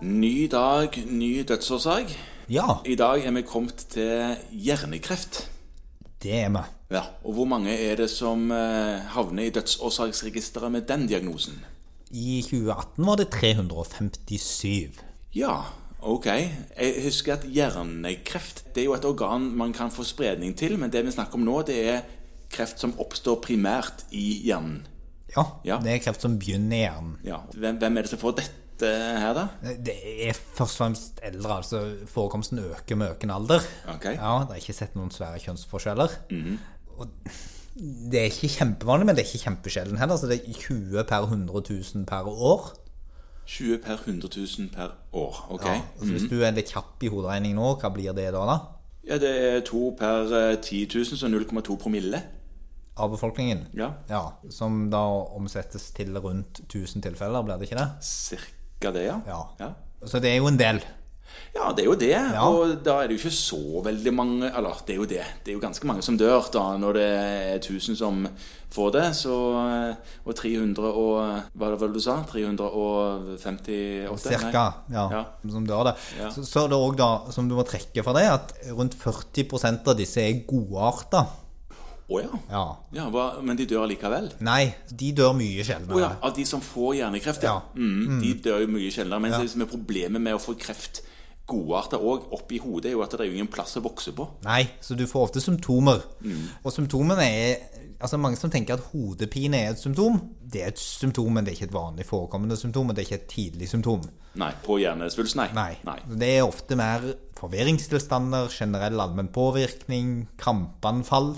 Ny dag, ny dødsårsak. Ja, I dag er vi kommet til hjernekreft. det er vi. Ja, Og hvor mange er det som eh, havner i dødsårsaksregisteret med den diagnosen? I 2018 var det 357. Ja, ok. Jeg husker at hjernekreft det er jo et organ man kan få spredning til, men det vi snakker om nå, det er kreft som oppstår primært i hjernen. Ja, Ja. det er kreft som begynner i hjernen. Ja, Hvem, hvem er det som får dette her, da? Det er først og fremst eldre, altså forekomsten øker med økende alder. Ok. Mhm. Ja, Det er ikke sett noen svære kjønnsforskjeller. Og det er ikke kjempevanlig, men det er ikke kjempesjelden heller. Så det er 20 per 100 000 per år. 20 per 100 000 per år. ok? Mhm. Ja, altså Hvis du er litt kjapp i hoderegning nå, hva blir det da? da? Ja, det er to per eh, 10 000, så 0,2 promille. Av befolkningen? Ja. Som da omsettes til rundt 1000 tilfeller, blir det ikke det? Cirka det, ja. Ja. Ja, Så det er jo en del. Ja, det er jo det. Og da er det jo ikke så veldig mange Eller, det er jo det. Det er jo ganske mange som dør da når det er 1000 som får det. Så, eh, og 300 og Hva var det du sa? 358? Cirka. Ja, Ja. Som dør det. Ja. Så, så er det òg, da, som du må trekke fra det, at rundt 40 av disse er godarta. Nei. Å ja. Ja. ja hva, men de dør likevel? Nei, de dør mye Å sjeldnere. ja, av de som får hjernekreft, ja. Ja. Mm, de dør jo mye sjeldnere. Men det som er problemet med å få kreft godartet òg opp i hodet, er jo at det er jo ingen plass å vokse på. Nei, så du får ofte symptomer. Mm. Og symptomene er Altså Mange som tenker at hodepine er et symptom. Det er et symptom, men det er ikke et vanlig forekommende symptom. Og det er ikke et tidlig symptom. Nei, på hjernesvulst, nei. Nei. Det er ofte mer forvirringstilstander, generell allmenn påvirkning, krampanfall.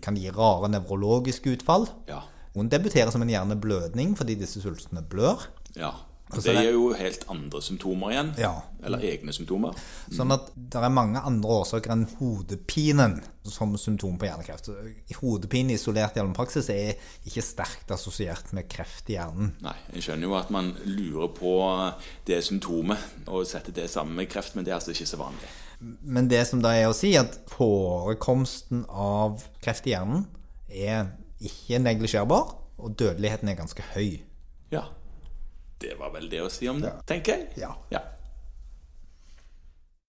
Kan gi rare nevrologiske utfall. Mhm. Ja. Hun debuterer som en hjerneblødning fordi disse svulstene blør. ja. Og så Det er det- er jo helt andre symptomer igjen. Ja. Eller egne symptomer. Sånn at det er mange andre årsaker enn hodepinen som symptom på hjernekreft. Så Hodepine isolert i allmennpraksis er ikke sterkt assosiert med kreft i hjernen. Nei, Jeg skjønner jo at man lurer på det symptomet og setter det sammen med kreft, men det er altså ikke så vanlig. Men det som da er å si, at forekomsten av kreft i hjernen er ikke neglisjerbar, og dødeligheten er ganske høy. Ja. Det var vel det å si om det, tenker jeg. Ja. ja.